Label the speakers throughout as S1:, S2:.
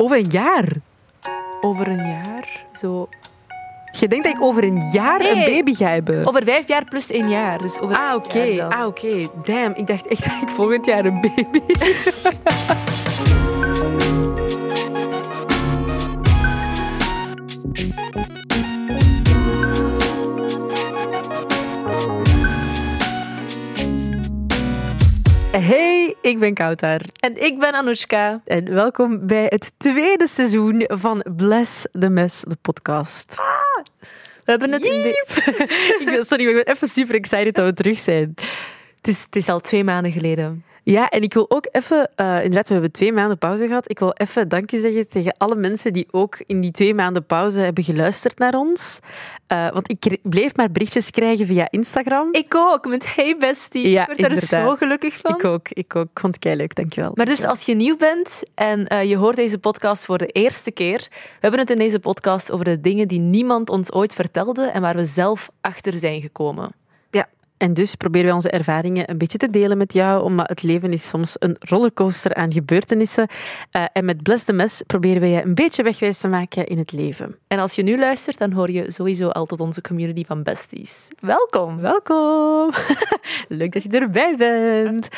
S1: Over een jaar.
S2: Over een jaar, zo.
S1: Je denkt dat ik over een jaar een
S2: Nee.
S1: baby ga hebben?
S2: Over vijf jaar plus één jaar. Dus over
S1: Ah,
S2: vijf
S1: oké.
S2: jaar dan.
S1: Ah, oké. Damn, ik dacht echt dat ik volgend jaar een baby...
S2: Hey, ik ben Kautar. En ik ben Anoushka.
S1: En welkom bij het tweede seizoen van Bless the Mess, de podcast.
S2: Ah! We hebben het in de...
S1: Ik ben- sorry, maar ik ben even super excited dat we terug zijn.
S2: Het is, het is al twee maanden geleden.
S1: Ja, en ik wil ook even, eh, inderdaad, we hebben twee maanden pauze gehad. Ik wil even dankje zeggen tegen alle mensen die ook in die twee maanden pauze hebben geluisterd naar ons. Eh, want ik kre- bleef maar berichtjes krijgen via Instagram.
S2: Ik ook, met Hey Bestie.
S1: Ja,
S2: ik word daar
S1: inderdaad.
S2: zo gelukkig van.
S1: Ik ook, ik ook. Ik vond het leuk, dankjewel.
S2: Maar dus als je nieuw bent en eh, je hoort deze podcast voor de eerste keer, we hebben het in deze podcast over de dingen die niemand ons ooit vertelde en waar we zelf achter zijn gekomen.
S1: Ja. En dus proberen wij onze ervaringen een beetje te delen met jou, omdat het leven is soms een rollercoaster aan gebeurtenissen. Eh, en met Bless the Mess proberen wij je een beetje wegwijs te maken in het leven.
S2: En als je nu luistert, dan hoor je sowieso altijd onze community van besties. Welkom!
S1: Welkom! Leuk dat je erbij bent.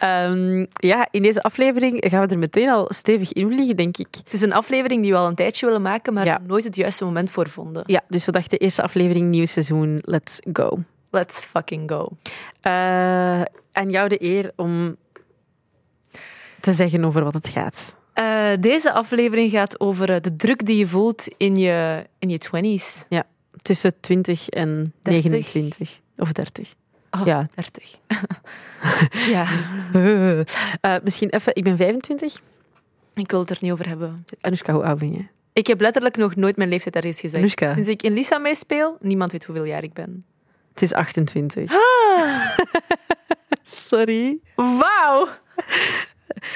S1: Ehm, ja, in deze aflevering gaan we er meteen al stevig in vliegen, denk ik.
S2: Het is een aflevering die we al een tijdje willen maken, maar
S1: Ja.
S2: er nooit het juiste moment voor vonden.
S1: Ja, dus we dachten eerste aflevering, nieuw seizoen, let's go.
S2: Let's fucking go.
S1: Eh, aan jou de eer om te zeggen over wat het gaat.
S2: Eh, deze aflevering gaat over eh, de druk die je voelt in je, in je 20s.
S1: Tussen 20 en
S2: 30.
S1: 29. Of 30.
S2: Oh,
S1: Ja.
S2: 30. ja,
S1: Eh, misschien even, ik ben 25.
S2: ik wil het er niet over hebben.
S1: Anushka, hoe oud ben je?
S2: Ik heb letterlijk nog nooit mijn leeftijd ergens gezegd.
S1: Anushka.
S2: Sinds ik in Lisa meespeel, niemand weet hoeveel jaar ik ben.
S1: Het is 28. Sorry.
S2: Ah. Wauw!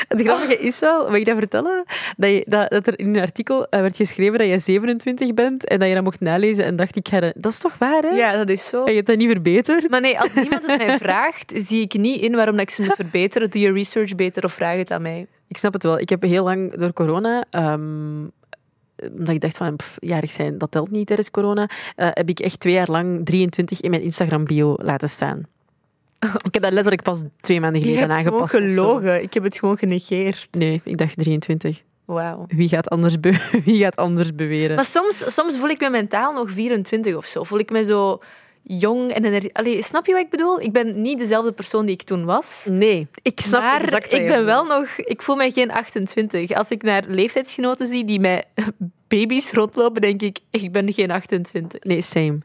S1: Het grappige is wel, wil je dat vertellen? Dat, je, dat, dat er in een artikel eh, werd geschreven dat jij 27 bent en dat je dat mocht nalezen en dacht ik, ga dat, dat is toch waar hè?
S2: Ja, dat is zo.
S1: En je hebt dat niet verbeterd?
S2: Maar nee, als niemand het mij vraagt, zie ik niet in waarom dat ik ze moet verbeteren. Doe je research beter of vraag het aan mij.
S1: Ik snap het wel. Ik heb heel lang door corona. ehm, omdat ik dacht van, pff, jarig zijn, dat telt niet tijdens corona, eh, heb ik echt twee jaar lang 23 in mijn Instagram-bio laten staan. Ik heb dat letterlijk pas twee maanden
S2: Je
S1: geleden
S2: hebt gewoon
S1: aangepast. of zo.
S2: gelogen. Ik heb het gewoon genegeerd.
S1: Nee, ik dacht 23.
S2: Wauw.
S1: Wie gaat anders, be- Wie gaat anders beweren?
S2: Maar soms, soms voel ik me mentaal nog 24 of zo. Voel ik me zo jong en energie. Allee, snap je wat ik bedoel? Ik ben niet dezelfde persoon die ik toen was.
S1: nee, ik snap
S2: maar
S1: exact wat
S2: ik
S1: je
S2: ben
S1: bedoelt.
S2: wel nog... Ik voel mij geen 28. Als ik naar leeftijdsgenoten zie die met baby's rondlopen, denk ik, ik ben geen 28.
S1: Nee, same.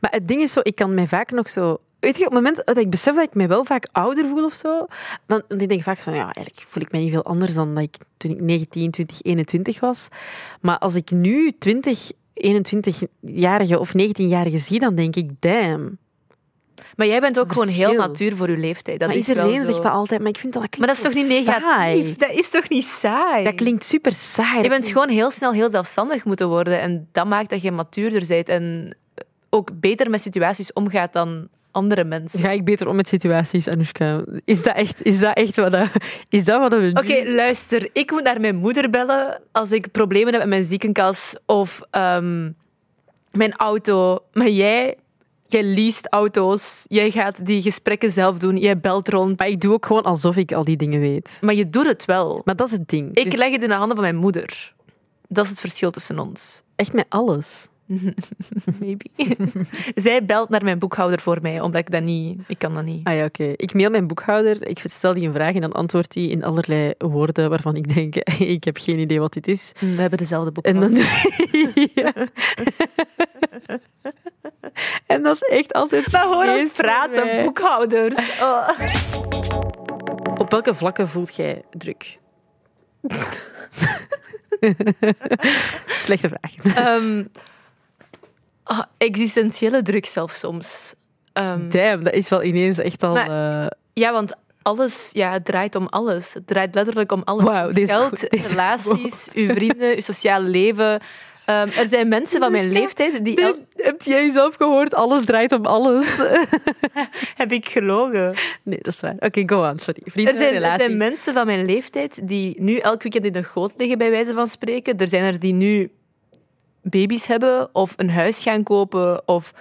S1: Maar het ding is zo, ik kan mij vaak nog zo... Weet je, op het moment dat ik besef dat ik mij wel vaak ouder voel of zo, dan dan denk ik vaak van, ja, eigenlijk voel ik mij niet veel anders dan dat ik toen ik 19, 20, 21 was. Maar als ik nu 20, 21-jarige of 19-jarige zie, dan denk ik, damn.
S2: Maar jij bent ook gewoon heel
S1: Verschil.
S2: natuur voor je leeftijd. Dat
S1: maar
S2: is
S1: iedereen
S2: wel zo.
S1: zegt dat altijd, maar ik vind dat, dat
S2: Maar
S1: klinkt
S2: dat is toch niet
S1: zo saai.
S2: negatief? Dat is toch niet saai?
S1: Dat klinkt super saai.
S2: Je
S1: Dat
S2: bent
S1: klinkt-
S2: gewoon heel snel heel zelfstandig moeten worden. En dat maakt dat je matuurder bent en ook beter met situaties omgaat dan andere mensen.
S1: Ga ik beter om met situaties, Anoushka? Is dat echt, is dat echt wat, dat, is dat wat we nu-
S2: Oké, luister. Ik moet naar mijn moeder bellen als ik problemen heb met mijn ziekenkas of ehm, mijn auto. Maar jij, jij leest auto's. Jij gaat die gesprekken zelf doen. Jij belt rond.
S1: Maar ik doe ook gewoon alsof ik al die dingen weet.
S2: Maar je doet het wel.
S1: Maar dat is het ding. Dus
S2: Ik leg het in de handen van mijn moeder. Dat is het verschil tussen ons.
S1: Echt met alles.
S2: Maybe. Zij belt naar mijn boekhouder voor mij, omdat ik dat niet... Ik kan dat niet.
S1: Ah ja, oké. Ik mail mijn boekhouder, ik stel die een vraag en dan antwoordt hij in allerlei woorden waarvan ik denk, ik heb geen idee wat dit is.
S2: We hebben dezelfde
S1: En
S2: boekhouder.
S1: dan Ja. En dat is echt altijd...
S2: Maar hoor ons
S1: Jezus,
S2: praten,
S1: mij.
S2: boekhouders. Oh.
S1: Op welke vlakken voelt jij druk? Slechte vraag.
S2: Ehm, ah, existentiële druk zelfs soms. Ehm,
S1: Damn, dat is wel ineens echt al...
S2: Maar-
S1: eh,
S2: ja, want alles ja, het draait om alles. Het draait letterlijk om alles.
S1: Wauw, deze is
S2: Geld,
S1: goed, deze is
S2: relaties, uw vrienden, uw sociaal leven. Ehm, er zijn mensen van mijn
S1: Anushka,
S2: leeftijd die... el-
S1: Dit- Heb jij jezelf gehoord? Alles draait om alles.
S2: Heb ik gelogen?
S1: Nee, dat is waar. Oké, go on. Sorry.
S2: Er
S1: Vrienden,
S2: zijn, er
S1: relaties.
S2: zijn mensen van mijn leeftijd die nu elk weekend in de goot liggen, bij wijze van spreken. Er zijn er die nu baby's hebben of een huis gaan kopen of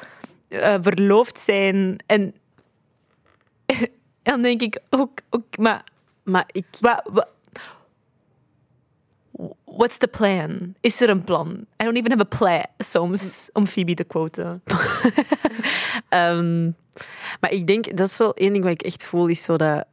S2: eh, verloofd zijn. En dan denk ik ook, ook maar
S1: Maar ik...
S2: wa- wa- what's the plan? Is er een plan? I don't even have a plan soms, om Phoebe te quoten.
S1: Ehm, maar ik denk, dat is wel één ding wat ik echt voel, is zo dat...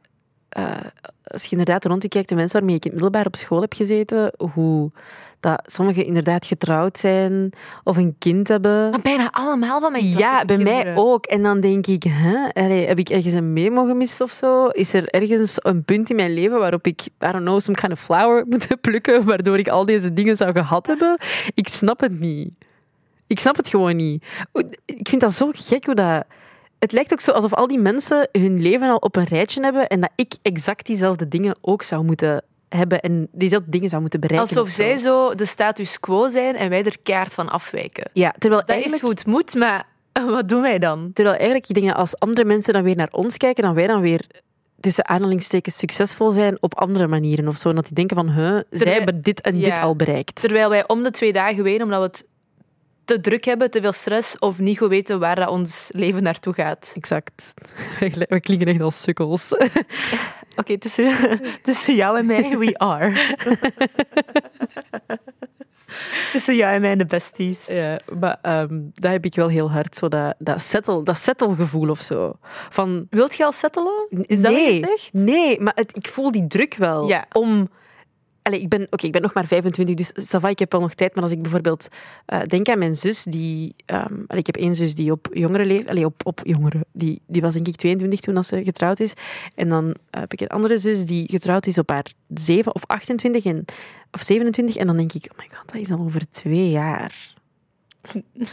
S1: eh, als je inderdaad rond je kijkt, de mensen waarmee ik in het middelbaar op school heb gezeten, hoe dat sommigen inderdaad getrouwd zijn of een kind hebben.
S2: Maar bijna allemaal van mijn klas
S1: Ja, bij
S2: hebben
S1: mij
S2: kinderen.
S1: ook. En dan denk ik, hè, allee, heb ik ergens een memo gemist of zo? Is er ergens een punt in mijn leven waarop ik, I don't know, some kind of flower heb moeten plukken, waardoor ik al deze dingen zou gehad hebben? Ik snap het niet. Ik snap het gewoon niet. Hoe- Ik vind dat zo gek hoe dat... Het lijkt ook zo alsof al die mensen hun leven al op een rijtje hebben en dat ik exact diezelfde dingen ook zou moeten hebben en diezelfde dingen zou moeten bereiken.
S2: Alsof
S1: of zo.
S2: zij zo de status quo zijn en wij er kaart van afwijken.
S1: Ja, terwijl
S2: Dat
S1: eigenlijk...
S2: is goed moet, maar wat doen wij dan?
S1: Terwijl eigenlijk, ik denk dat als andere mensen dan weer naar ons kijken, dan wij dan weer tussen aanhalingstekens succesvol zijn op andere manieren of zo. En dat die denken van, huh, zij
S2: Terwijl-
S1: hebben dit en dit
S2: Ja.
S1: al bereikt.
S2: Terwijl wij om de twee dagen ween omdat we het te druk hebben, te veel stress of niet goed weten waar dat ons leven naartoe gaat.
S1: Exact. We klinken echt als sukkels.
S2: Oké, tussen, tussen jou en mij, we are. tussen jou en mij en de besties.
S1: Ja, maar ehm dat heb ik wel heel hard, zo dat, dat, settle, dat settle-gevoel of zo. Van,
S2: Wilt je al settelen? Is dat
S1: nee,
S2: wat je zegt?
S1: Nee, maar het- ik voel die druk wel.
S2: Ja.
S1: Om... Allee, ik, ben, oké, ik ben nog maar 25, dus ça va, ik heb wel nog tijd. Maar als ik bijvoorbeeld eh, denk aan mijn zus, die... ehm, allee, ik heb één zus die op jongere leeftijd... allee, op, op jongere... Die, die was denk ik 22 toen als ze getrouwd is. En dan eh, heb ik een andere zus die getrouwd is op haar 7 of 28 en, of 27. En dan denk ik, oh my god, dat is al over twee jaar.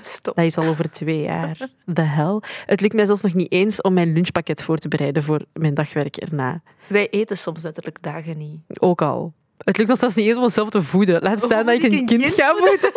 S2: Stop.
S1: Dat is al over twee jaar. De hel. Het lukt mij zelfs nog niet eens om mijn lunchpakket voor te bereiden voor mijn dagwerk erna.
S2: Wij eten soms letterlijk dagen niet.
S1: Ook al. Het lukt ons zelfs niet eens om onszelf te voeden. Laat
S2: Oh,
S1: staan dat ik een kind, ga voeden.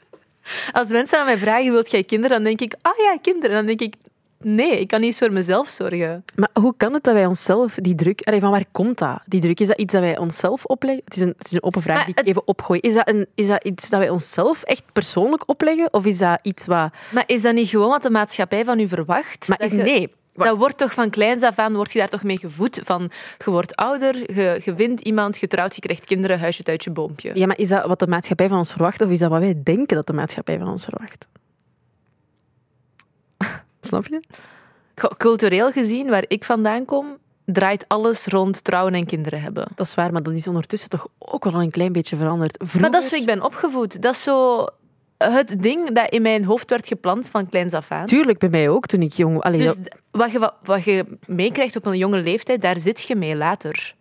S2: Als mensen aan mij vragen, wilt jij kinderen? Dan denk ik, ah ja, kinderen. Dan denk ik, nee, ik kan niet eens voor mezelf zorgen.
S1: Maar hoe kan het dat wij onszelf die druk... Allee, van waar komt dat? Die druk, is dat iets dat wij onszelf opleggen? Het is een, het is een open vraag
S2: Maar
S1: die ik even opgooi. Is dat, een, is dat iets dat wij onszelf echt persoonlijk opleggen? Of is dat iets wat...
S2: Maar is dat niet gewoon wat de maatschappij van u verwacht?
S1: Maar
S2: Dat
S1: is,
S2: je-
S1: nee. Wacht.
S2: Dat wordt toch van kleins af aan, word je daar toch mee gevoed? Van, je wordt ouder, je, je wint iemand, je trouwt, je krijgt kinderen, huisje, tuitje, boompje.
S1: Ja, maar is dat wat de maatschappij van ons verwacht? Of is dat wat wij denken dat de maatschappij van ons verwacht? Snap je?
S2: Go- Cultureel gezien, waar ik vandaan kom, draait alles rond trouwen en kinderen hebben.
S1: Dat is waar, maar dat is ondertussen toch ook wel een klein beetje veranderd.
S2: Maar
S1: Vroeger-
S2: dat is hoe ik ben opgevoed. Dat is zo het ding dat in mijn hoofd werd geplant van kleins af aan.
S1: Tuurlijk, bij mij ook, toen ik jong... Allee,
S2: Dus
S1: dat-
S2: d- wat je, wat je meekrijgt op een jonge leeftijd, daar zit je mee later.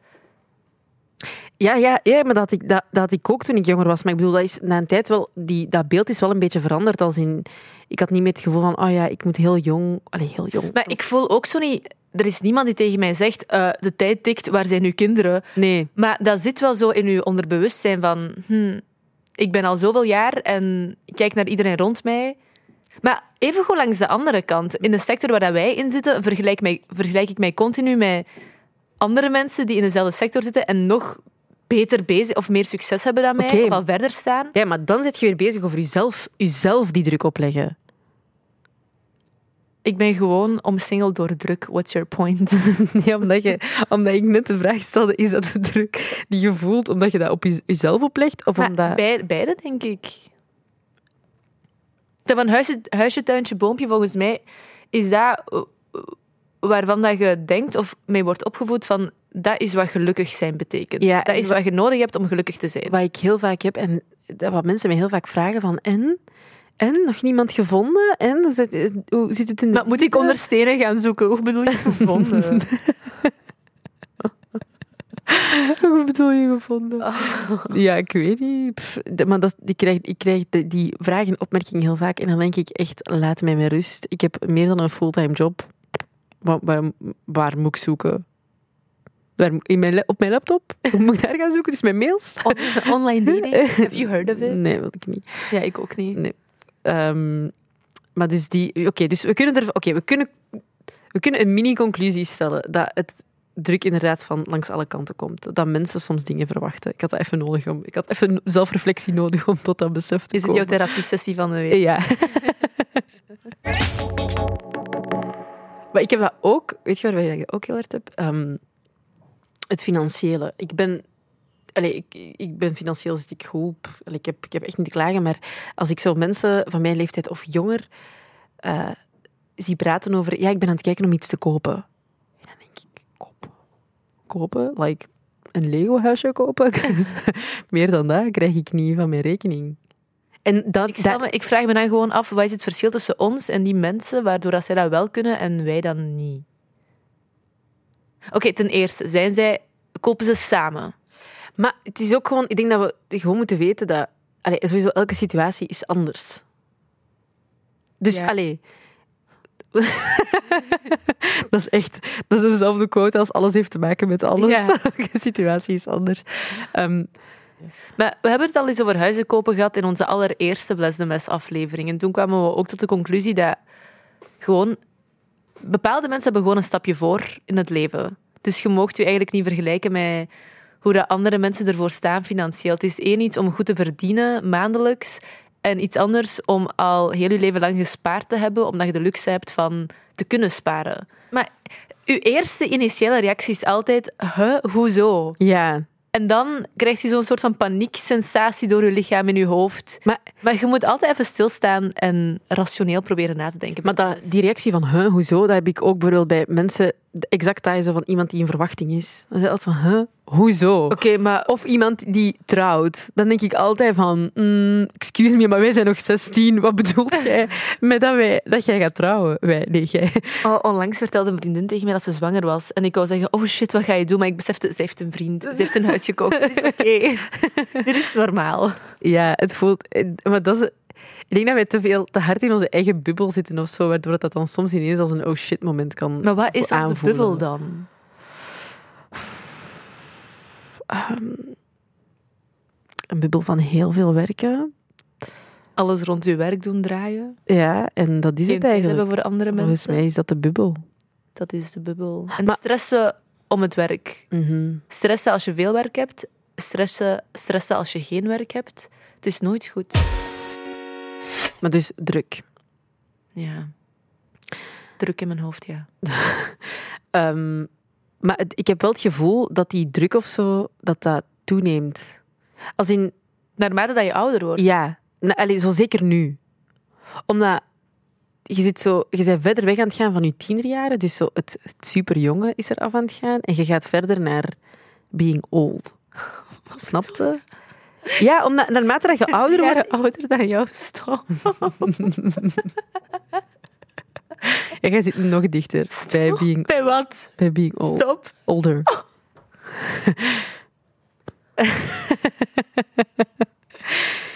S1: Ja, ja, ja maar dat had, ik, dat, dat had ik ook toen ik jonger was. Maar ik bedoel, dat is na een tijd wel... Die, dat beeld is wel een beetje veranderd. Als in, ik had niet meer het gevoel van, oh ja, ik moet heel jong... Allee, heel jong.
S2: Maar ik voel ook zo niet... Er is niemand die tegen mij zegt, eh, de tijd tikt, waar zijn uw kinderen?
S1: Nee.
S2: Maar dat zit wel zo in uw onderbewustzijn van... hmm, ik ben al zoveel jaar en ik kijk naar iedereen rond mij. Maar even goed langs de andere kant. In de sector waar dat wij in zitten, vergelijk, mij, vergelijk ik mij continu met andere mensen die in dezelfde sector zitten en nog beter bezig of meer succes hebben dan mij,
S1: Oké.
S2: of al verder staan.
S1: Ja, maar dan zit je weer bezig over jezelf, jezelf die druk opleggen.
S2: Ik ben gewoon omsingeld door druk. What's your point?
S1: Ja, omdat, je, omdat ik net de vraag stelde, is dat de druk die je voelt omdat je dat op je- jezelf oplegt? Of
S2: Maar
S1: omdat...
S2: bij- beide, denk ik. Dat van huisje, huisje, tuintje, boompje, volgens mij is dat eh, eh, waarvan dat je denkt of mee wordt opgevoed van dat is wat gelukkig zijn betekent.
S1: Ja,
S2: dat
S1: en
S2: is
S1: wa-
S2: wat je nodig hebt om gelukkig te zijn.
S1: Wat ik heel vaak heb, en dat wat mensen me heel vaak vragen van, en? En? Nog niemand gevonden? En? Zit- eh, Hoe zit het in de
S2: Maar moet ik onder stenen gaan zoeken? Hoe bedoel je gevonden?
S1: Hoe bedoel je gevonden? Ja, ik weet niet. Pff, de- maar dat, ik krijg, ik krijg de- die vragen en opmerkingen heel vaak. En dan denk ik echt, laat mij met rust. Ik heb meer dan een fulltime job. Waar, waar, waar moet ik zoeken? Waar, moet- in mijn, la- op mijn laptop? Hoe moet ik daar gaan zoeken? Dus mijn mails?
S2: On- online dating? Have you heard of it?
S1: Nee, wil ik niet.
S2: Ja, ik ook niet.
S1: Ehm, Maar dus die... Oké, dus we kunnen er... Oké, we, kunnen, we kunnen een mini-conclusie stellen dat het druk inderdaad van langs alle kanten komt. Dat mensen soms dingen verwachten. Ik had dat even nodig om... Ik had even zelfreflectie nodig om tot dat besef te
S2: Is het
S1: komen.
S2: jouw therapie-sessie van de week?
S1: Ja. maar ik heb dat ook, weet je waar ik dat ook heel hard heb? Ehm, het financiële. Ik ben, allee, ik, ik ben financieel zit ik goed. Pff, allee, ik, heb, ik heb echt niet te klagen, maar als ik zo mensen van mijn leeftijd of jonger eh, zie praten over, ja, ik ben aan het kijken om iets te kopen. En dan denk ik, kopen? Kopen? Like een Lego-huisje kopen? Meer dan dat krijg ik niet van mijn rekening. En dat,
S2: Ik, stel
S1: dat-
S2: me, ik vraag me dan gewoon af, wat is het verschil tussen ons en die mensen, waardoor dat zij dat wel kunnen en wij dan niet? Oké, ten eerste, zijn zij, kopen ze samen?
S1: Maar het is ook gewoon, ik denk dat we gewoon moeten weten dat allee, sowieso elke situatie is anders. Dus
S2: Ja.
S1: allee. dat is echt, dat is dezelfde quote als alles heeft te maken met alles.
S2: Ja.
S1: Elke situatie is anders. Ehm,
S2: Maar we hebben het al eens over huizen kopen gehad in onze allereerste Bles de Mes aflevering. En toen kwamen we ook tot de conclusie dat gewoon... Bepaalde mensen hebben gewoon een stapje voor in het leven. Dus je moogt je eigenlijk niet vergelijken met hoe dat andere mensen ervoor staan financieel. Het is één iets om goed te verdienen maandelijks. En iets anders om al heel je leven lang gespaard te hebben, omdat je de luxe hebt van te kunnen sparen. Maar uw eerste initiële reactie is altijd, huh, hoezo?
S1: ja.
S2: En dan krijgt je zo'n soort van panieksensatie door je lichaam in je hoofd.
S1: Maar,
S2: Maar je moet altijd even stilstaan en rationeel proberen na te denken.
S1: maar dat, die reactie van, huh, hoezo, dat heb ik ook bijvoorbeeld bij mensen, exact dat is zo van iemand die in verwachting is. Dan zeg je altijd van, huh, hoezo?
S2: Oké, maar...
S1: Of iemand die trouwt. Dan denk ik altijd van, mm, excuse me, maar wij zijn nog 16. Wat bedoelt jij met dat, wij, dat jij gaat trouwen? Wij, nee, jij.
S2: Oh, onlangs vertelde een vriendin tegen mij dat ze zwanger was. En ik wou zeggen, oh shit, wat ga je doen? Maar ik besefte, ze heeft een vriend, ze heeft een huis gekocht. Dit is oké. Dit is normaal.
S1: Ja, het voelt... eh, Maar dat is, ik denk dat wij te veel, te hard in onze eigen bubbel zitten of zo, waardoor dat dan soms ineens als een oh shit moment kan
S2: Maar wat is onze
S1: aanvoelen.
S2: bubbel dan?
S1: ehm, Een bubbel van heel veel werken.
S2: Alles rond je werk doen draaien?
S1: Ja, en dat is
S2: Geen
S1: het
S2: tijd hebben
S1: eigenlijk.
S2: voor andere
S1: Volgens
S2: mensen?
S1: mij is dat de bubbel.
S2: Dat is de bubbel. En
S1: Maar-
S2: stressen om het werk.
S1: Mhm.
S2: Stressen als je veel werk hebt, stressen, stressen als je geen werk hebt. Het is nooit goed.
S1: Maar dus druk.
S2: Ja. Druk in mijn hoofd, ja.
S1: Ehm, maar het- ik heb wel het gevoel dat die druk of zo, dat dat toeneemt. Als in,
S2: Naarmate dat je ouder wordt.
S1: ja, nou, allee, zo zeker nu. Omdat je, zit zo, je bent verder weg aan het gaan van je tienerjaren, dus zo het, het superjonge is er af aan het gaan. En je gaat verder naar being old. Snapte? Ja, omdat naarmate dat je ouder wordt,
S2: ouder dan jou, stom.
S1: en jij zit nog dichter bij being,
S2: Bij wat?
S1: bij being old,
S2: Stop.
S1: older.
S2: Oh.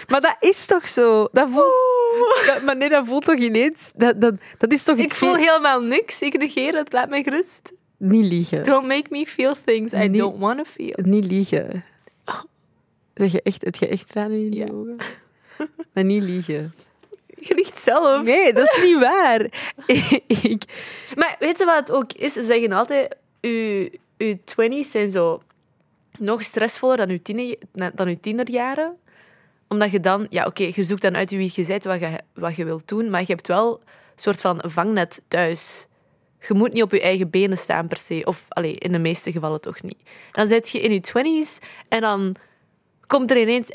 S1: maar dat is toch zo? Dat voelt, dat, maar nee, dat voelt toch ineens? Dat, dat, dat is toch
S2: Oh. Ik
S1: iets
S2: voel
S1: veel-
S2: helemaal niks. Ik negeer het. Laat mij gerust.
S1: Niet liegen.
S2: Don't make me feel things I
S1: Nee.
S2: don't want to feel.
S1: Niet liegen. Zeg je echt, heb je echt tranen in je
S2: Oh. Ja.
S1: ogen? Maar niet liegen.
S2: Je ligt zelf.
S1: Nee, dat is niet waar. ik,
S2: Maar weet je wat het ook is? Ze zeggen altijd, uw, uw 20s zijn zo nog stressvoller dan uw, tiener, dan uw tienerjaren. Omdat je dan, ja oké, je zoekt dan uit wie je bent, wat je, wat je wilt doen, maar je hebt wel een soort van vangnet thuis. Je moet niet op je eigen benen staan per se, of allee, in de meeste gevallen toch niet. Dan zit je in je 20s en dan komt er ineens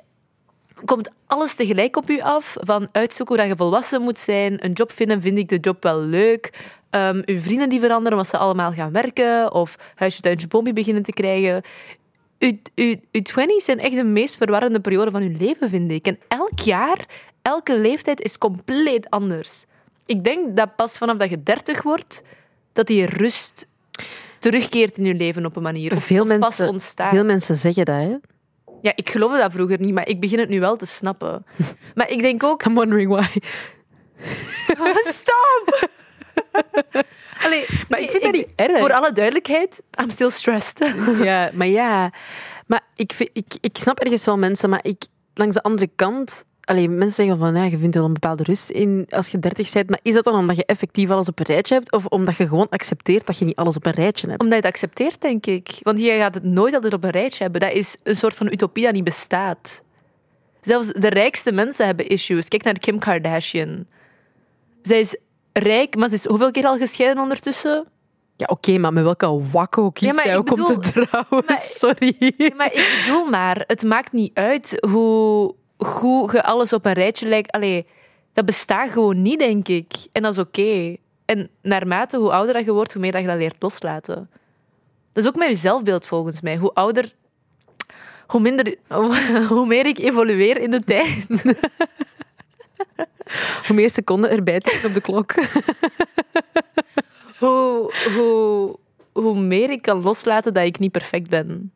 S2: komt alles tegelijk op u af. Van uitzoeken hoe dat je volwassen moet zijn, een job vinden, vind ik de job wel leuk. Ehm, uw vrienden die veranderen omdat ze allemaal gaan werken. Of huisje, tuintje, boompje beginnen te krijgen. Uw, uw, uw 20's zijn echt de meest verwarrende periode van uw leven, vind ik. En elk jaar, elke leeftijd is compleet anders. Ik denk dat pas vanaf dat je 30 wordt, dat die rust terugkeert in je leven op een manier. Of,
S1: Veel
S2: of
S1: mensen-
S2: pas ontstaat.
S1: veel mensen zeggen dat, hè?
S2: Ja, ik geloofde dat vroeger niet, maar ik begin het nu wel te snappen. Maar ik denk ook,
S1: I'm wondering why.
S2: stop! Allee,
S1: Maar
S2: nee,
S1: ik vind dat niet erg.
S2: Voor alle duidelijkheid, I'm still stressed.
S1: Ja, maar ja. Maar ik, vind- ik, ik snap ergens wel mensen, maar ik, langs de andere kant allee, mensen zeggen van ja, je vindt wel een bepaalde rust in als je 30 bent. Maar is dat dan omdat je effectief alles op een rijtje hebt? Of omdat je gewoon accepteert dat je niet alles op een rijtje hebt?
S2: Omdat je het accepteert, denk ik. Want jij gaat het nooit altijd op een rijtje hebben. Dat is een soort van utopie dat niet bestaat. Zelfs de rijkste mensen hebben issues. Kijk naar Kim Kardashian. Zij is rijk, maar ze is hoeveel keer al gescheiden ondertussen?
S1: Ja, oké, maar met welke wakko kiest
S2: Ja, maar
S1: jij
S2: ik
S1: ook om te trouwen?
S2: maar-
S1: Sorry.
S2: Maar ik bedoel maar, het maakt niet uit hoe goed je alles op een rijtje lijkt. Allee, dat bestaat gewoon niet, denk ik. En dat is oké. En naarmate hoe ouder dat je wordt, hoe meer dat je dat leert loslaten. Dat is ook met je zelfbeeld volgens mij. Hoe ouder, hoe minder, hoe meer ik evolueer in de tijd.
S1: Hoe meer seconden erbij tikken op de klok.
S2: hoe, hoe, hoe meer ik kan loslaten dat ik niet perfect ben.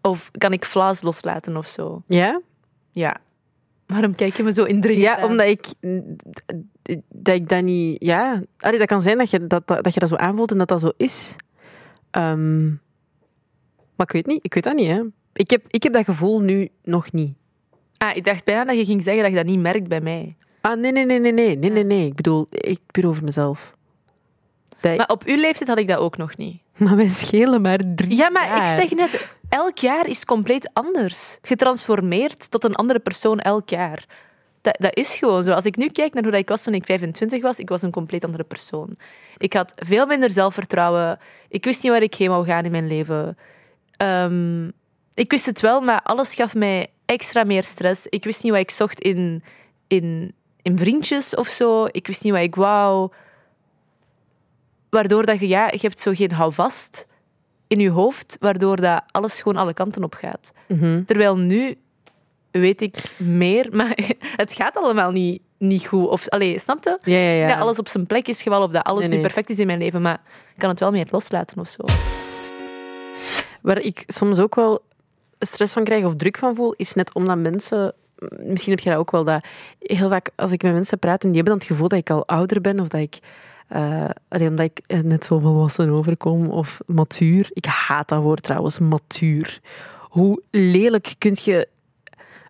S2: Of kan ik flaws loslaten of zo.
S1: Ja?
S2: Ja. Waarom kijk je me zo indringend
S1: Ja,
S2: aan?
S1: omdat ik d- dat ik dat niet. Ja, Allee, dat kan zijn dat je dat, dat, dat je dat zo aanvoelt en dat dat zo is. Ehm, maar ik weet niet, ik weet dat niet. Hè. Ik, heb, ik heb dat gevoel nu nog niet.
S2: Ah, ik dacht bijna dat je ging zeggen dat je dat niet merkt bij mij.
S1: Ah, nee, nee, nee, nee, nee, nee, nee, nee. Ik bedoel, ik puur over mezelf. Dat ik-
S2: Maar op uw leeftijd had ik dat ook nog niet.
S1: maar wij schelen maar drie.
S2: Ja, maar
S1: jaar.
S2: ik zeg net, elk jaar is compleet anders. Getransformeerd tot een andere persoon elk jaar. Dat, dat is gewoon zo. Als ik nu kijk naar hoe dat ik was toen ik 25 was, ik was een compleet andere persoon. Ik had veel minder zelfvertrouwen. Ik wist niet waar ik heen wou gaan in mijn leven. Ehm, ik wist het wel, maar alles gaf mij extra meer stress. Ik wist niet wat ik zocht in, in, in vriendjes of zo. Ik wist niet wat ik wou. Waardoor dat je, ja, je hebt zo geen houvast in je hoofd, waardoor dat alles gewoon alle kanten op gaat.
S1: Mhm.
S2: Terwijl nu weet ik meer, maar het gaat allemaal niet, niet goed. Of, allee, snap je?
S1: Ja, ja,
S2: Als
S1: ja.
S2: Dat alles op zijn plek is gewal of dat alles
S1: Nee, nee.
S2: nu perfect is in mijn leven, maar ik kan het wel meer loslaten of zo.
S1: Waar ik soms ook wel stress van krijg of druk van voel, is net omdat mensen. Misschien heb je dat ook wel. Dat heel vaak als ik met mensen praat en die hebben dan het gevoel dat ik al ouder ben of dat ik. eh, allee, omdat ik eh, net zo volwassen overkom of matuur. Ik haat dat woord trouwens, matuur. Hoe lelijk kun je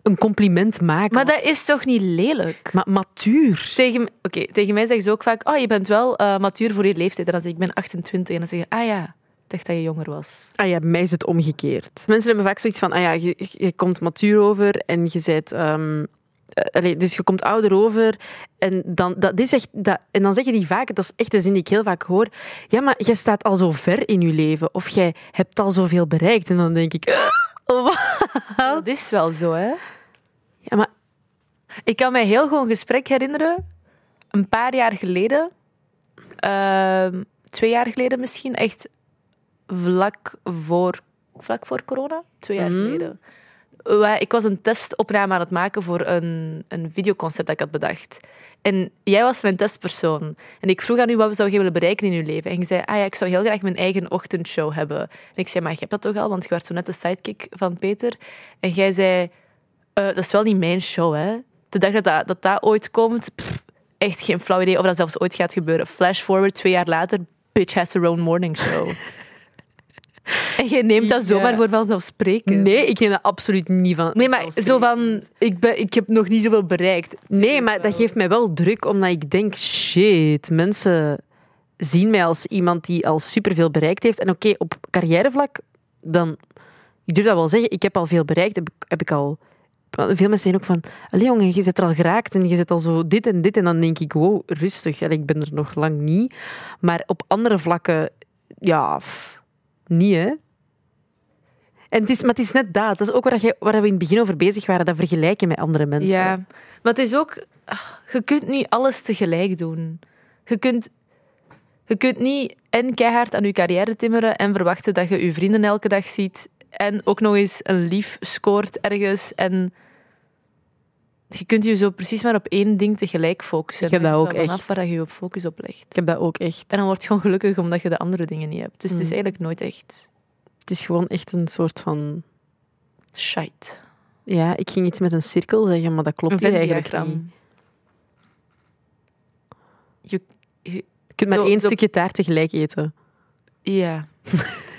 S1: een compliment maken?
S2: Maar dat is toch niet lelijk?
S1: Maar matuur.
S2: Tegen, oké, tegen mij zeggen ze ook vaak, oh, je bent wel eh, matuur voor je leeftijd. En dan zeg ik, ik ben 28. En dan zeggen ze, ah ja, ik dacht dat je jonger was.
S1: Ah ja, bij mij is het omgekeerd. Mensen hebben vaak zoiets van, ah ja, je, je komt matuur over en je bent... ehm, eh, allee, dus je komt ouder over en dan, dat is echt, dat, en dan zeggen die vaak, dat is echt een zin die ik heel vaak hoor, ja, maar jij staat al zo ver in je leven of jij hebt al zoveel bereikt. En dan denk ik, oh, wat?
S2: Dat is wel zo, hè?
S1: Ja, maar
S2: Ik kan mij heel goed een gesprek herinneren. Een paar jaar geleden. Ehm, twee jaar geleden misschien. Echt vlak voor, vlak voor corona. Twee jaar
S1: Mhm.
S2: geleden. Wa- Ik was een testopname aan het maken voor een, een videoconcept dat ik had bedacht. En jij was mijn testpersoon. En ik vroeg aan u wat zou je willen bereiken in je leven. En je zei, ah ja, ik zou heel graag mijn eigen ochtendshow hebben. En ik zei, maar je hebt dat toch al? Want je werd zo net de sidekick van Peter. En jij zei, eh, dat is wel niet mijn show, hè. De dag dat dat, dat, dat ooit komt, pff, echt geen flauw idee of dat zelfs ooit gaat gebeuren. Flash forward twee jaar later, bitch has her own morning show. en jij neemt dat
S1: Ja.
S2: zomaar voor vanzelfsprekend.
S1: nee, ik neem dat absoluut niet van.
S2: Nee, maar zo van, ik, ben, ik heb nog niet zoveel bereikt.
S1: Nee, maar dat geeft mij wel druk, omdat ik denk, shit, mensen zien mij als iemand die al superveel bereikt heeft. En oké, op carrièrevlak, dan... Ik durf dat wel zeggen, ik heb al veel bereikt, heb ik, heb ik al... want Veel mensen zijn ook van, allee jongen, je zit er al geraakt en je zit al zo dit en dit. En dan denk ik, wow, rustig, allee, ik ben er nog lang niet. Maar op andere vlakken, ja, pff, niet hè. En het is, maar het is net dat, dat is ook waar, jij- waar we in het begin over bezig waren, dat vergelijken met andere mensen.
S2: Ja, maar het is ook, ah, je kunt niet alles tegelijk doen. Je kunt, je kunt niet en keihard aan je carrière timmeren en verwachten dat je je vrienden elke dag ziet en ook nog eens een lief scoort ergens en je kunt je zo precies maar op één ding tegelijk focussen.
S1: Ik heb
S2: Het
S1: dat
S2: is
S1: ook
S2: wel vanaf
S1: echt.
S2: waar je je op focus op legt.
S1: Ik heb dat ook echt.
S2: En dan word je gewoon gelukkig omdat je de andere dingen niet hebt. Dus het is
S1: Mm.
S2: eigenlijk nooit echt
S1: Het is gewoon echt een soort van...
S2: shite.
S1: Ja, ik ging iets met een cirkel zeggen, maar dat klopt hier eigenlijk niet. Je kunt maar
S2: Zo-
S1: één
S2: zo-
S1: stukje taart tegelijk eten.
S2: Ja,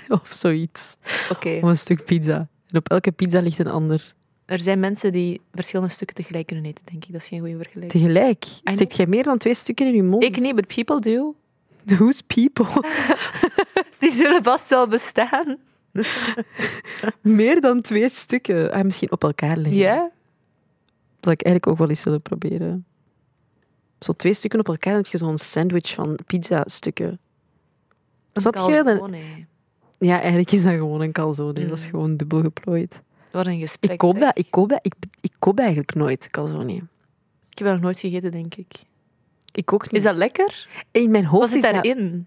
S1: Of zoiets.
S2: oké.
S1: Of een stuk pizza. En op elke pizza ligt een ander.
S2: Er zijn mensen die verschillende stukken tegelijk kunnen eten, denk ik. Dat is geen goede vergelijking.
S1: Tegelijk.
S2: know.
S1: Steekt jij meer dan twee stukken in je mond?
S2: Ik niet, but people do.
S1: Who's people?
S2: Die zullen vast wel bestaan.
S1: meer dan twee stukken. Ah, misschien op elkaar
S2: Ja?
S1: leggen. Dat zou ik eigenlijk ook wel eens willen proberen. Zo twee stukken op elkaar, dan heb je zo'n sandwich van pizza-stukken. Snap je? Dan-
S2: Calzone.
S1: ja, eigenlijk is dat gewoon een calzone.
S2: Mm.
S1: Dat is gewoon dubbel geplooid.
S2: Wat een gesprek.
S1: Ik koop,
S2: zeg.
S1: dat, ik, koop dat, ik, ik koop eigenlijk nooit calzone.
S2: Ik heb dat nog nooit gegeten, denk ik.
S1: Ik ook niet.
S2: Is dat lekker?
S1: in mijn hoofd
S2: Wat zit
S1: is dat
S2: daarin?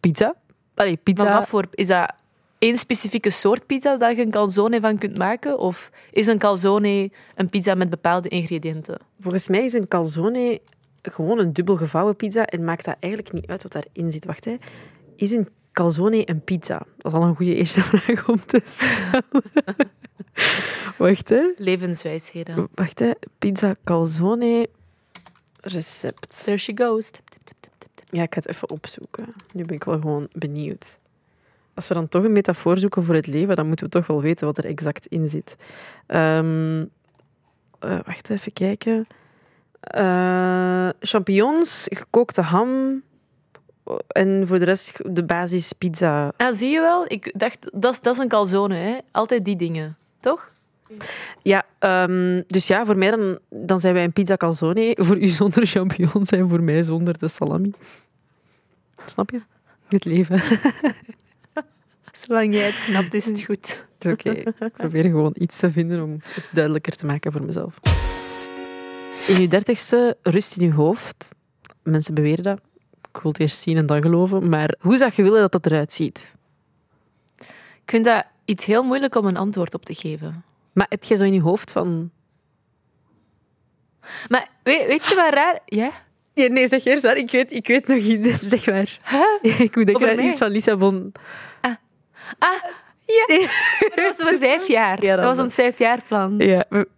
S1: pizza. Allee, pizza.
S2: e- Maar wat voor, is dat één specifieke soort pizza dat je een calzone van kunt maken? Of is een calzone een pizza met bepaalde ingrediënten?
S1: Volgens mij is een calzone gewoon een dubbel gevouwen pizza en maakt dat eigenlijk niet uit wat daarin zit. Wacht, hè. Is een calzone een pizza? Dat is al een goede eerste vraag om te stellen. Wacht, hè.
S2: Levenswijsheden.
S1: Wacht, hè. Pizza calzone recept.
S2: There she goes. Tip, tip, tip, tip, tip, tip.
S1: Ja, ik ga het even opzoeken. Nu ben ik wel gewoon benieuwd. Als we dan toch een metafoor zoeken voor het leven, dan moeten we toch wel weten wat er exact in zit. Ehm, eh, wacht even kijken. Eh, champignons, gekookte ham. En voor de rest de basis pizza.
S2: Ah, zie je wel? Ik dacht, dat is, dat is een calzone, hè? Altijd die dingen, toch?
S1: Ja, ehm, dus ja, voor mij dan, dan zijn wij een pizza calzone. Voor u zonder champignons en voor mij zonder de salami. Snap je? Het leven.
S2: Zolang jij het snapt, is het goed.
S1: Het is oké. Ik probeer gewoon iets te vinden om het duidelijker te maken voor mezelf. In je dertigste rust in je hoofd. Mensen beweren dat. Ik wil het eerst zien en dan geloven. Maar hoe zou je willen dat dat eruit ziet?
S2: Ik vind dat iets heel moeilijk om een antwoord op te geven.
S1: Maar heb jij zo in je hoofd van...
S2: Maar weet, weet je wat raar... Ja?
S1: nee, zeg eerst waar. Ik weet, ik weet nog iets. Zeg maar. Ik moet
S2: Over
S1: denken aan
S2: mij?
S1: iets van Lissabon.
S2: Ja. Dat was over vijf jaar.
S1: Ja, dan
S2: dat was
S1: wel.
S2: ons vijfjaarplan.
S1: Ja. we-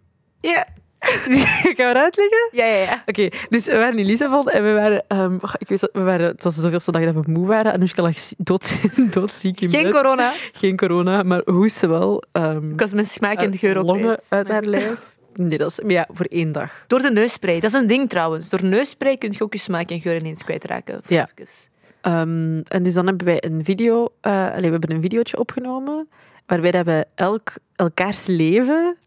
S2: Ja.
S1: Gaan we het uitleggen?
S2: Ja, ja, ja.
S1: Oké, dus we waren in Lissabon en we waren... ehm, oh, ik weet dat, we waren het was de zoveelste dag dat we moe waren. Anoushka lag zie- doodziek doodziek in
S2: Geen
S1: bed.
S2: corona.
S1: geen corona, maar hoesten wel. ehm,
S2: Ik was mijn smaak en
S1: haar
S2: geur ook
S1: longen eh.
S2: kwijt.
S1: uit haar lijf. Nee, dat is maar ja, voor één dag.
S2: Door de neusspray. Dat is een ding trouwens. Door neusspray kun je ook je smaak en geur ineens kwijtraken. Voor
S1: Ja.
S2: even.
S1: Ehm, en dus dan hebben wij een video, eh allee, we hebben een videootje opgenomen waarbij dat we elk, elkaars leven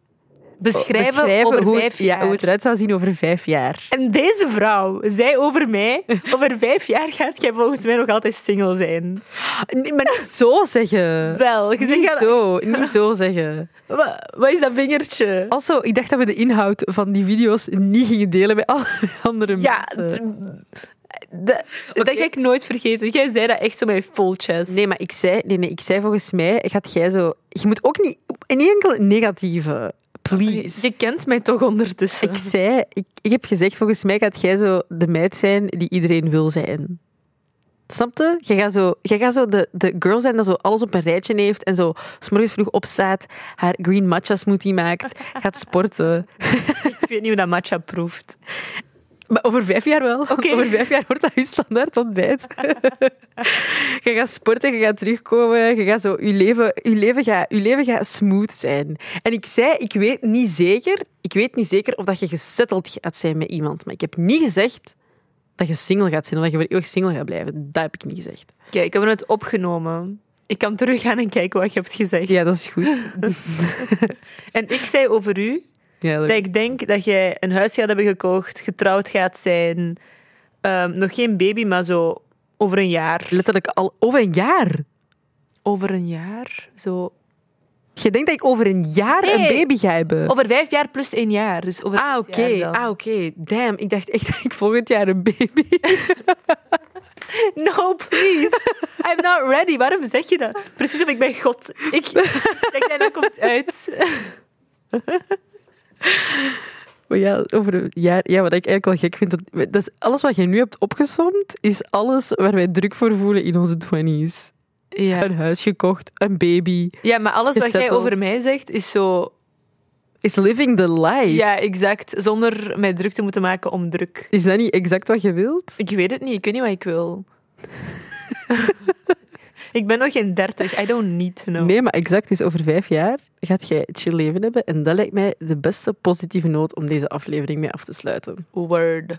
S2: Beschrijven,
S1: beschrijven
S2: over
S1: hoe,
S2: vijf
S1: ja,
S2: jaar.
S1: hoe het eruit zou zien over vijf jaar.
S2: En deze vrouw zei over mij... Over vijf jaar gaat jij volgens mij nog altijd single zijn.
S1: Nee, maar niet zo zeggen.
S2: Wel. Je zegt
S1: Niet
S2: dat-
S1: zo, niet zo zeggen.
S2: Wa- Wat is dat vingertje?
S1: Also, ik dacht dat we de inhoud van die video's niet gingen delen bij alle andere
S2: Ja,
S1: mensen.
S2: d- dat- dat ga ik nooit vergeten. Jij zei dat echt zo met full chest.
S1: Nee, maar ik zei, nee, nee, ik zei volgens mij, gaat jij zo... Je moet ook niet... In enkel negatieve. Please.
S2: Je kent mij toch ondertussen.
S1: Ik zei... Ik, ik heb gezegd, volgens mij gaat jij zo de meid zijn die iedereen wil zijn. Snapte? Jij gaat zo, jij gaat zo de, de girl zijn dat zo alles op een rijtje heeft en zo 's morgens vroeg opstaat, haar green matcha smoothie maakt, gaat sporten.
S2: Ik weet niet hoe dat matcha proeft.
S1: Maar over vijf jaar wel.
S2: Oké.
S1: Over vijf jaar wordt dat je standaard ontbijt. je gaat sporten, je gaat terugkomen. Je gaat zo, je leven, je leven gaat, je leven gaat smooth zijn. En ik zei, ik weet niet zeker, ik weet niet zeker of dat je gesetteld gaat zijn met iemand. Maar ik heb niet gezegd dat je single gaat zijn of dat je voor eeuwig single gaat blijven. Dat heb ik niet gezegd.
S2: Kijk, ik heb het opgenomen. Ik kan teruggaan en kijken wat je hebt gezegd.
S1: Ja, dat is goed.
S2: En ik zei over u
S1: Ja, dat-
S2: dat ik denk dat jij een huis gaat hebben gekocht, getrouwd gaat zijn, ehm, nog geen baby, maar zo over een jaar.
S1: Letterlijk al over een jaar.
S2: Over een jaar? Zo.
S1: Je denkt dat ik over een jaar een
S2: Nee.
S1: baby ga hebben.
S2: Over vijf jaar plus één jaar. Dus over
S1: Ah,
S2: zes
S1: oké.
S2: jaar dan.
S1: Ah, oké. Damn, ik dacht echt dat ik volgend jaar een baby
S2: No, please. I'm not ready. Waarom zeg je dat? Precies of ik ben God. Ik denk dat dat komt uit.
S1: Maar ja, over een jaar, ja, wat ik eigenlijk wel gek vind, dat, dat is alles wat je nu hebt opgesomd, is alles waar wij druk voor voelen in onze twenties.
S2: Ja,
S1: Een huis gekocht, een baby.
S2: ja maar alles wat jij
S1: Gesetteld.
S2: over mij zegt is zo.
S1: Is living the life.
S2: Ja, exact. Zonder mij druk te moeten maken om druk.
S1: Is dat niet exact wat je wilt?
S2: Ik weet het niet. Ik weet niet wat ik wil. Ik ben nog geen 30. I don't need to know.
S1: Nee, maar exact. Dus over vijf jaar gaat jij het chill leven hebben. En dat lijkt mij de beste positieve noot om deze aflevering mee af te sluiten.
S2: Word.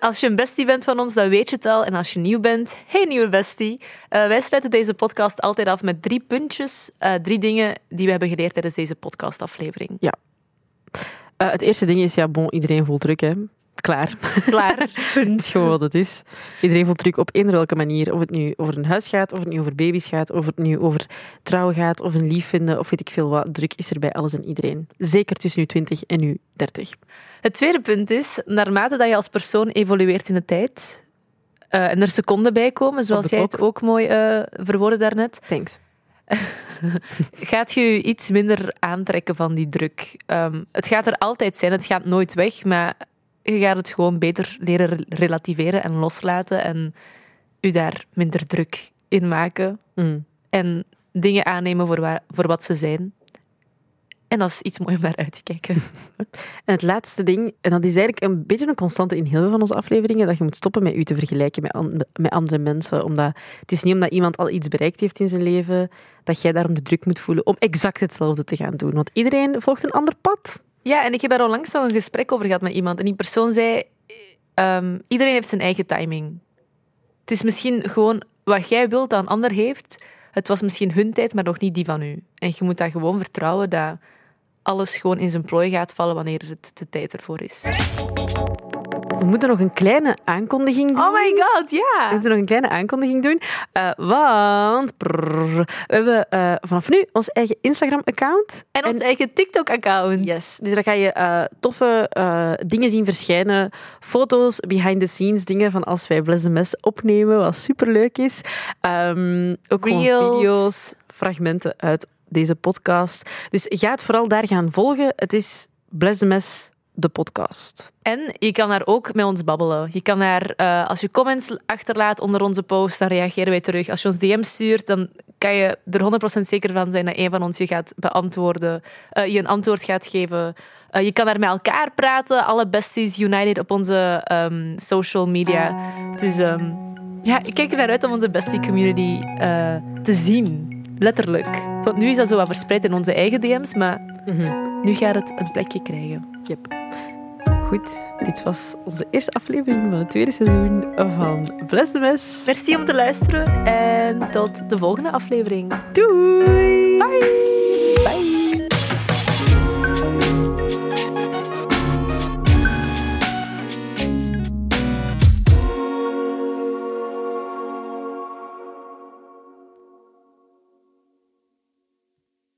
S2: Als je een bestie bent van ons, dan weet je het al. En als je nieuw bent, hey nieuwe bestie. Eh, wij sluiten deze podcast altijd af met drie puntjes. eh, drie dingen die we hebben geleerd tijdens deze podcastaflevering.
S1: Eh, het eerste ding is, ja, bon, iedereen voelt druk, hè. Klaar.
S2: Klaar.
S1: Het is gewoon wat het is. Iedereen voelt druk op eender welke manier. Of het nu over een huis gaat, of het nu over baby's gaat, of het nu over trouwen gaat, of een lief vinden, of weet ik veel wat. Druk is er bij alles en iedereen. Zeker tussen nu 20 en nu 30.
S2: Het tweede punt is, naarmate dat je als persoon evolueert in de tijd eh, en er seconden bij komen, zoals
S1: de
S2: jij het ook mooi eh verwoordde daarnet,
S1: Thanks.
S2: gaat je je iets minder aantrekken van die druk. Ehm, het gaat er altijd zijn, het gaat nooit weg, maar je gaat het gewoon beter leren rel- relativeren en loslaten en je daar minder druk in maken
S1: Mm.
S2: en dingen aannemen voor, waar, voor wat ze zijn. En dat is iets mooi om naar uit te kijken.
S1: En het laatste ding, en dat is eigenlijk een beetje een constante in heel veel van onze afleveringen, dat je moet stoppen met u te vergelijken met, an- met andere mensen. Omdat het is niet omdat iemand al iets bereikt heeft in zijn leven, dat jij daarom de druk moet voelen om exact hetzelfde te gaan doen. Want iedereen volgt een ander pad.
S2: Ja, en ik heb daar onlangs nog een gesprek over gehad met iemand. En die persoon zei: ehm, iedereen heeft zijn eigen timing. Het is misschien gewoon wat jij wilt dat een ander heeft. Het was misschien hun tijd, maar nog niet die van u. En je moet daar gewoon vertrouwen dat alles gewoon in zijn plooi gaat vallen wanneer het de tijd ervoor is.
S1: We moeten nog een kleine aankondiging doen.
S2: Oh my god,
S1: We
S2: ja!
S1: moeten nog een kleine aankondiging doen. Eh, want prrr, we hebben eh, vanaf nu ons eigen Instagram-account.
S2: En ons eigen TikTok-account.
S1: Yes. Dus daar ga je eh, toffe eh, dingen zien verschijnen. Foto's, behind-the-scenes dingen van als wij Bless the Mess opnemen, wat superleuk is. Ehm, ook gewoon
S2: Reels.
S1: video's, fragmenten uit deze podcast. Dus ga het vooral daar gaan volgen. Het is Bless the Mess, de podcast.
S2: En je kan daar ook met ons babbelen. Je kan daar, eh, als je comments achterlaat onder onze post, dan reageren wij terug. Als je ons DM stuurt, dan kan je er 100% zeker van zijn dat een van ons je gaat beantwoorden, eh, je een antwoord gaat geven. Eh, je kan daar met elkaar praten, alle besties united op onze ehm, social media. Dus ehm, ja, ik kijk er naar uit om onze bestie community eh, te zien. Letterlijk. Want nu is dat zo wat verspreid in onze eigen DM's, maar nu gaat het een plekje krijgen.
S1: Yep. Goed, dit was onze eerste aflevering van het tweede seizoen van Bless the Mess.
S2: Merci om te luisteren en tot de volgende aflevering.
S1: Doei! Bye! Bye!